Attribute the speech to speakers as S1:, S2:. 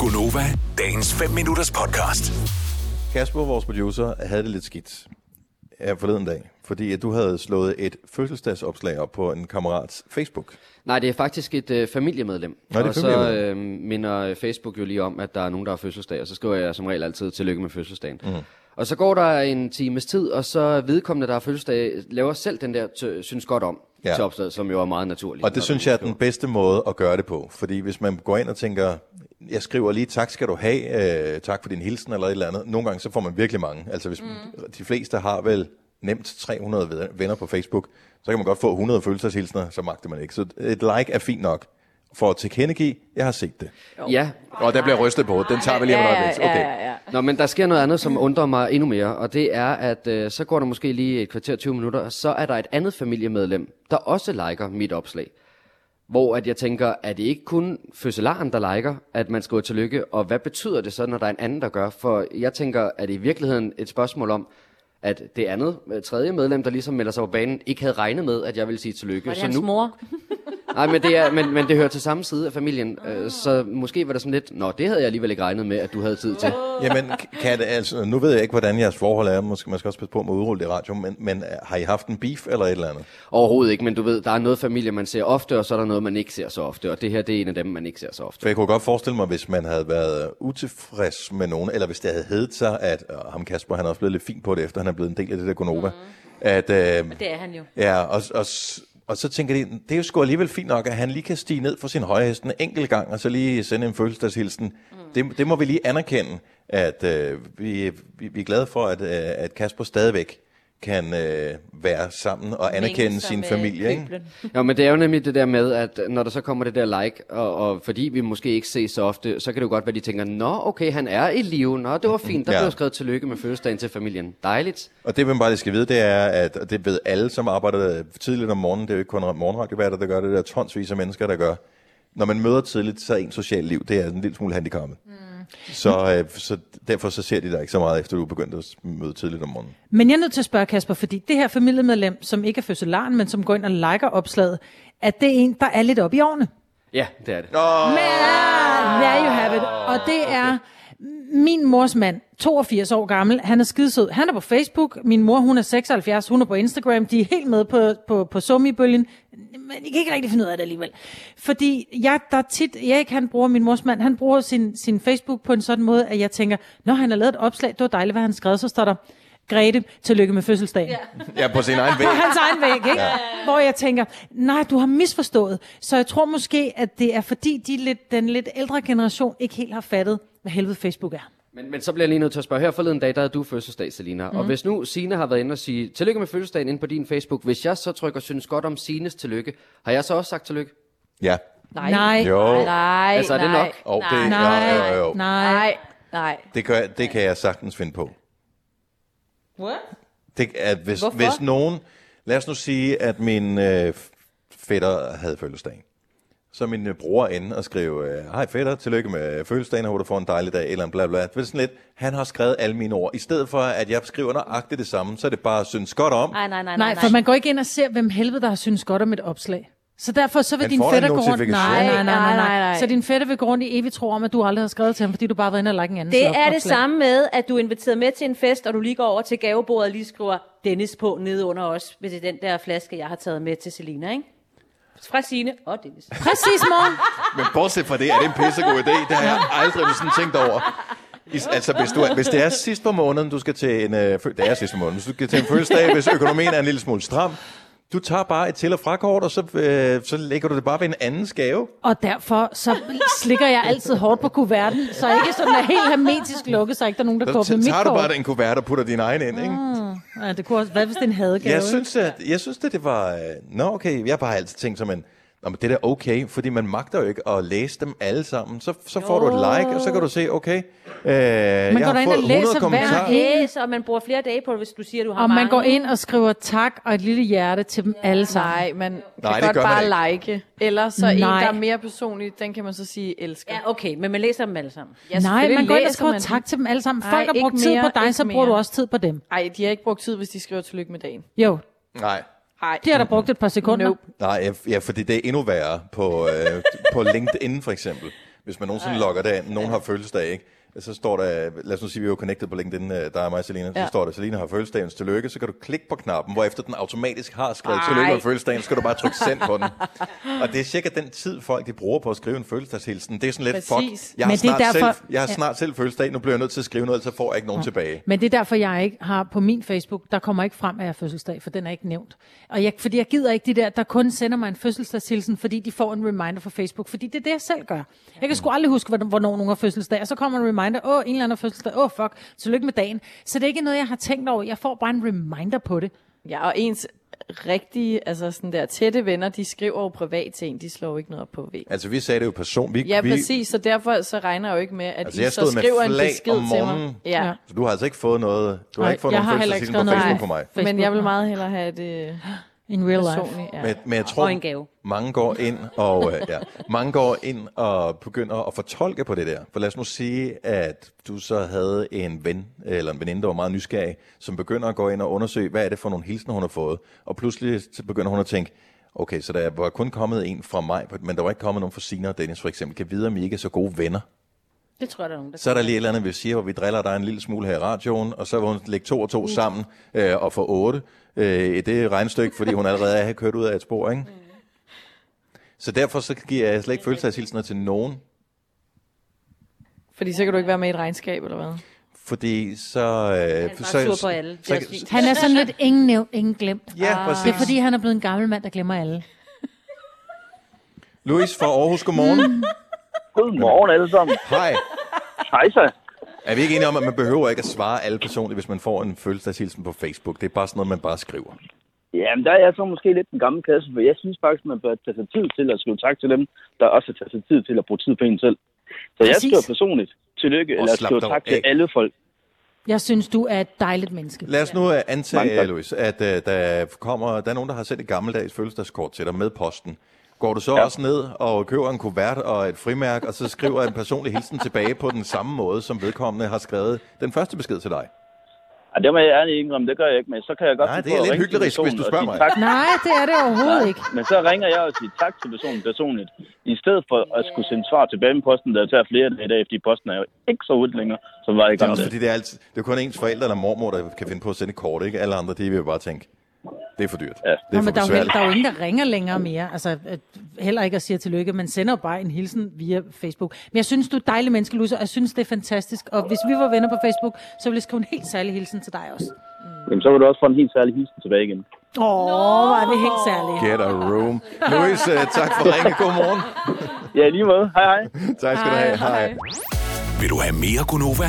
S1: Gunova, dagens 5 minutters podcast.
S2: Kasper, vores producer, havde det lidt skidt her forleden dag, fordi at du havde slået et fødselsdagsopslag op på en kammerats Facebook.
S3: Nej, det er faktisk et øh, familiemedlem.
S2: Nå, det er
S3: og så øh,
S2: familiemedlem.
S3: minder Facebook jo lige om, at der er nogen, der har fødselsdag, og så skriver jeg som regel altid tillykke med fødselsdagen.
S2: Mhm.
S3: Mm. Og så går der en times tid, og så vedkommende, der har fødselsdag, laver selv den der t- synes godt om
S2: Ja.
S3: ja. til opslaget, som jo er meget naturligt.
S2: Og det synes jeg er den bedste måde at gøre det på, fordi hvis man går ind og tænker, jeg skriver lige tak skal du have, øh, tak for din hilsen eller et eller andet, nogle gange så får man virkelig mange. Altså hvis mm. de fleste har vel nemt 300 ved- venner på Facebook, så kan man godt få 100 følelseshilsner, så magter man ikke. Så et like er fint nok for at tilkendegive, jeg har set det.
S3: Ja,
S2: Og der bliver rystet på hovedet. Den tager vi lige om et øjeblik. Okay.
S4: ja, ja.
S3: Nå, men der sker noget andet, som undrer mig endnu mere, og det er, at øh, så går der måske lige et kvarter 20 minutter, og så er der et andet familiemedlem, der også liker mit opslag. Hvor at jeg tænker, er det ikke kun fødselaren, der liker, at man skriver tillykke, og hvad betyder det så, når der er en anden, der gør? For jeg tænker, at det i virkeligheden et spørgsmål om, at det andet, øh, tredje medlem, der ligesom melder sig på banen, ikke havde regnet med, at jeg ville sige tillykke.
S4: Var det
S3: så
S4: hans
S3: nu,
S4: mor?
S3: Nej, men det, er, men, men det hører til samme side af familien,
S4: Ah.
S3: øh, så måske var der sådan lidt, nå, det havde jeg alligevel ikke regnet med, at du havde tid til.
S2: Jamen, kan det, altså, nu ved jeg ikke, hvordan jeres forhold er. Måske, man skal også passe på med at udrulle det i radioen, men, men øh, har I haft en beef eller et eller andet?
S3: Overhovedet ikke, men du ved, der er noget familie, man ser ofte, og så er der noget, man ikke ser så ofte, og det her, det er en af dem, man ikke ser så ofte.
S2: For jeg kunne godt forestille mig, hvis man havde været øh, utilfreds med nogen, eller hvis det havde heddet sig, at øh, ham Kasper, han er også blevet lidt fin på det, efter han er blevet en del af det der Gonova. Mm. At, øh,
S4: Det er han jo.
S2: ja, og, og, og så tænker de, det er jo sgu alligevel fint nok, at han lige kan stige ned fra sin høje hest en enkelt gang, og så lige sende en fødselsdagshilsen. Mm. Det, det må vi lige anerkende, at øh, vi, vi, vi er glade for, at, øh, at Kasper stadigvæk kan øh, være sammen og anerkende
S4: Mængde sig
S2: sin
S4: med
S2: familie. Ikke?
S4: pøblen.
S3: Ja, men det er jo nemlig det der med, at når der så kommer det der like, og, og fordi vi måske ikke ses så ofte, så kan det jo godt være, de tænker, nå, okay, han er i live, nå, det var fint, der
S2: Ja.
S3: ja. blev skrevet tillykke med fødselsdagen til familien. Dejligt.
S2: Og det, man bare lige skal vide, det er, at og det ved alle, som arbejder tidligt om morgenen, det er jo ikke kun morgenradioværter, der gør det, det er tonsvis af mennesker, der gør. Når man møder tidligt, så er ens socialt liv, det er en lille smule handicappet. Mm. Så, øh, så derfor så ser de dig ikke så meget, efter du er begyndt at møde tidligt om morgenen.
S5: Men jeg er nødt til at spørge Kasper, fordi det her familiemedlem, som ikke er fødselaren, men som går ind og liker opslaget, at det er en, der er lidt oppe i årene.
S3: Ja, det er det.
S5: Men ah, there you have it. Og det er min mors mand, 82 år gammel, han er skidesød. Han er på Facebook, min mor hun er 76, hun er på Instagram, de er helt med på, på, på Sumi-bølgen, men jeg kan ikke rigtig finde ud af det alligevel. Fordi jeg, der er tit, Erik han bruger, min mors mand, han bruger sin, sin Facebook på en sådan måde, at jeg tænker, når han har lavet et opslag, det var dejligt, hvad han skrev, så står der, Grete, tillykke med fødselsdagen. Ja
S2: Ja, på sin egen væg.
S5: på hans egen væg, ikke? Ja. Hvor jeg tænker, nej, du har misforstået. Så jeg tror måske, at det er fordi, de lidt, den lidt ældre generation ikke helt har fattet, hvad helvede Facebook er.
S3: Men, men så bliver jeg lige nødt til at spørge, her forleden dag, der havde du fødselsdag, Selina, mm. og hvis nu Sine har været inde og sige, tillykke med fødselsdagen ind på din Facebook, hvis jeg så trykker, synes godt om Sines tillykke, har jeg så også sagt tillykke?
S2: Ja.
S4: Nej.
S5: Nej.
S2: Jo.
S4: Nej,
S3: Altså, er det
S4: nej,
S3: nok?
S2: Og det,
S4: nej,
S5: Nej,
S2: Jo, jo, jo.
S5: nej.
S4: nej, nej.
S2: Det, kan, det kan jeg sagtens finde på.
S5: What?
S2: Det, at hvis,
S4: Hvorfor?
S2: hvis nogen... Lad os nu sige, at min øh, fætter havde fødselsdag. Så min øh, bror inde og skrive, øh, hej fætter, tillykke med fødselsdagen, håber du får en dejlig dag, eller en bla bla. Det er sådan lidt, han har skrevet alle mine ord. I stedet for, at jeg skriver nøjagtigt det samme, så er det bare synes godt om.
S4: Nej, nej, nej, nej.
S5: Nej, for man går ikke ind og ser, hvem helvede, der har synes godt om et opslag. Så derfor så vil
S2: Han
S5: din
S2: får da
S5: fætter
S2: en
S5: gå rundt...
S2: notifikation.
S5: Nej, nej, nej, nej,
S4: Nej, nej,
S5: nej.
S4: nej.
S5: Så din fætter vil gå rundt i evigt tro om, at du aldrig har skrevet til ham, fordi du bare var inde og lagt en anden
S4: Det er det samme med, at du er inviteret med til en fest, og du lige går over til gavebordet og lige skriver Dennis på nede under os, hvis det er den der flaske, jeg har taget med til Selina, ikke? Fra Signe og Dennis.
S5: Præcis, mor.
S2: Men bortset fra det, er det en pissegod idé. Det har jeg aldrig sådan tænkt over. I, altså, hvis, du, er- hvis det er sidst på måneden, du skal til en, øh, fø- det er sidst på måneden, hvis du skal til en fødselsdag, hvis økonomien er en lille smule stram, du tager bare et til- og frakort, og så, øh, så lægger du det bare ved en andens gave.
S5: Og derfor så slikker jeg altid hårdt på kuverten, så jeg ikke sådan er helt hermetisk lukket, så ikke der er nogen, der går
S2: Så
S5: på mit
S2: tager du
S5: kort. Ah,
S2: bare den kuvert og putter din egen ind, ikke?
S5: Ja, det kunne også, hvad hvis det er en hadegave?
S2: Jeg
S5: ikke?
S2: synes, at, jeg synes, at det var... Øh, nå, okay, jeg har bare altid tænkt som en... Nå, men det er da okay, fordi man magter jo ikke at læse dem alle sammen. Så, så får du et like, og så kan du se, okay, øh, jeg
S5: går
S2: har
S5: da ind og
S2: fået
S5: læser
S2: 100
S5: hver
S2: kommentarer.
S5: en.
S4: Yes, og man bruger flere dage på det, hvis du siger, du har
S5: Og
S4: mange.
S5: man går ind og skriver tak og et lille hjerte til dem alle sammen.
S6: Nej, man Nej,
S2: det
S6: kan godt
S2: gør man
S6: bare like. Eller så en,
S5: Nej.
S6: der er mere personlig, den kan man så sige elsker.
S4: Ja, okay, men man læser dem alle sammen.
S6: Ja,
S5: Nej,
S6: selvfølgelig
S5: man går ind og
S6: læser
S5: skriver
S6: man
S5: tak
S6: den.
S5: til dem alle sammen.
S6: Nej,
S5: Folk har
S6: ikke
S5: brugt tid
S6: mere,
S5: på dig,
S6: ikke
S5: så bruger du
S6: mere.
S5: også tid på dem.
S6: Ej, de har ikke brugt tid, hvis de skriver tillykke med dagen.
S5: Jo,
S2: Nej.
S6: Nej.
S5: det har der brugt et par sekunder.
S6: Nope.
S2: Nej, ja, f- ja, fordi det er endnu værre på, øh, på LinkedIn for eksempel. Hvis man nogensinde logger det ind, nogen har fødselsdag, ikke? Så står der, lad os nu sige, vi er jo connected på LinkedIn, øh, der er mig og Selina, så
S6: Ja.
S2: står der, Selina har fødselsdagens tillykke, så kan du klikke på knappen, hvor efter den automatisk har skrevet tillykke med fødselsdagen, så skal du bare trykke send på den. Og det er cirka den tid, folk de bruger på at skrive en fødselsdagshilsen. Det er sådan lidt,
S6: Præcis.
S2: fuck, jeg har,
S5: Men det er
S2: snart, derfor...
S5: derfor-
S2: selv, jeg har
S5: Ja.
S2: snart selv fødselsdag, nu bliver jeg nødt til at skrive noget, så får jeg ikke nogen tilbage.
S5: Men det er derfor, jeg ikke har på min Facebook, der kommer ikke frem, at jeg har fødselsdag, for den er ikke nævnt. Og jeg, fordi jeg gider ikke de der, der kun sender mig en fødselsdagshilsen, fordi de får en reminder fra Facebook, fordi det er det, jeg selv gør. Jeg kan sgu aldrig huske, hvornår hvornår nogen har fødselsdag, og så kommer en reminder, åh, en eller anden har fødselsdag, åh, fuck, tillykke med dagen. Så det er ikke noget, jeg har tænkt over, jeg får bare en reminder på det.
S6: Ja, og ens rigtige, altså sådan der tætte venner, de skriver jo privat til en, de slår jo ikke noget op på væggen.
S2: Altså, vi sagde det jo person. Vi,
S6: Ja,
S2: vi,
S6: præcis, så derfor så regner jeg jo ikke med, at
S2: Altså,
S6: I
S2: jeg
S6: så
S2: stod med
S6: skriver en
S2: flag
S6: besked
S2: om
S6: til
S2: morgenen.
S6: mig. Ja.
S5: Ja.
S6: ja.
S2: Så du har altså ikke fået noget, du har
S5: Nej,
S2: ikke fået
S5: jeg
S2: nogen
S5: har heller ikke
S2: fødselsdagshilsen på
S5: skrevet
S2: Facebook
S5: noget.
S2: for mig.
S5: Facebook.
S6: Men jeg vil meget hellere have det øh,
S5: In real life.
S6: personligt. Ja.
S2: Men, men jeg tror,
S4: Og en gave.
S2: mange går ind og øh, ja, mange går ind og begynder at fortolke på det der. For lad os nu sige, at du så havde en ven eller en veninde, der var meget nysgerrig, som begynder at gå ind og undersøge, hvad er det for nogle hilsner, hun har fået. Og pludselig så begynder hun at tænke, okay, så der var kun kommet en fra mig, men der var ikke kommet nogen fra Sina og Dennis for eksempel. Kan vide, om I ikke er så gode venner.
S4: Det tror jeg, der er nogen, der
S2: Så er der lige et eller andet, vi siger, hvor vi driller dig en lille smule her i radioen, og så vil hun lægge to og to sammen øh, og få otte øh, i det regnstykke, fordi hun allerede er kørt ud af et spor,
S4: Mm.
S2: ikke? Så derfor så giver jeg slet ikke følelseshilsener til nogen,
S6: Fordi så kan du ikke være med i et regnskab, eller hvad?
S2: fordi så... Øh,
S4: bare
S2: så,
S4: sur på alle. Det er også fint.
S5: Han er sådan lidt ingen nævnt, ingen glemt. Ah.
S2: Ja, præcis.
S5: Det er fordi, han er blevet en gammel mand, der glemmer alle.
S2: Louis fra Aarhus, godmorgen.
S7: Godmorgen alle sammen.
S2: Hej.
S7: Hej så.
S2: Er vi ikke enige om, at man behøver ikke at svare alle personligt, hvis man får en følelseshilsen på Facebook? Det er bare sådan noget, man bare skriver.
S7: Jamen, der er jeg så måske lidt den gamle kasse, for jeg synes faktisk, man bør tage sig tid til at skrive tak til dem, der også har taget sig tid til at bruge tid på en selv. Så jeg
S5: Præcis.
S7: skriver personligt tillykke,
S2: Og
S7: eller
S2: slap
S7: skriver
S2: dog
S7: tak til
S2: af.
S7: alle folk.
S5: Jeg synes, du er et dejligt menneske.
S2: Lad os nu øh, antage,
S7: Mange tak.
S2: Louis, at øh, der, kommer, der er nogen, der har sendt et gammeldags fødselsdagskort til dig med posten. Går du så ja. også ned og køber en kuvert og et frimærk, og så skriver en personlig hilsen tilbage på den samme måde, som vedkommende har skrevet den første besked til dig?
S7: Ej, det må jeg ærligt indrømme, det gør jeg ikke, men så kan jeg godt
S2: Nej,
S7: finde
S2: det er
S7: på at
S2: lidt
S7: ringe til
S2: hyklerisk, hvis
S7: personen
S2: du
S7: og
S2: spørger
S7: sige
S2: mig.
S7: tak.
S5: Nej, det er det overhovedet ikke.
S7: Men så ringer jeg og siger tak til personen personligt, i stedet for at skulle sende svar tilbage med posten, der tager flere dage i dag, fordi posten er jo ikke så ud længere, som var det i
S2: Det er
S7: gamle
S2: også
S7: dage.
S2: fordi, det er, altid, det er kun ens forældre eller mormor, der kan finde på at sende et kort, ikke? Alle andre, de vil jo bare tænke, det er for dyrt.
S7: Ja.
S2: Det
S5: Nå,
S2: er for
S5: men der er, jo, heller-
S2: besværligt.
S5: der er jo ingen, der ringer længere mere. Altså, øh, heller ikke at sige tillykke. Man sender jo bare en hilsen via Facebook. Men jeg synes, du er et dejligt menneske, Lusse, og jeg synes, det er fantastisk. Og hvis vi var venner på Facebook, så ville jeg skrive en helt særlig hilsen til dig også.
S7: Jamen, så vil du også få en helt særlig hilsen tilbage igen.
S5: Åh, oh, var det helt særligt.
S2: Get a room. Louis, øh, tak for ringen. Godmorgen.
S7: Ja, i lige måde. Hej hej.
S2: Tak skal du have. Hej.
S1: Vil du have mere Gunova?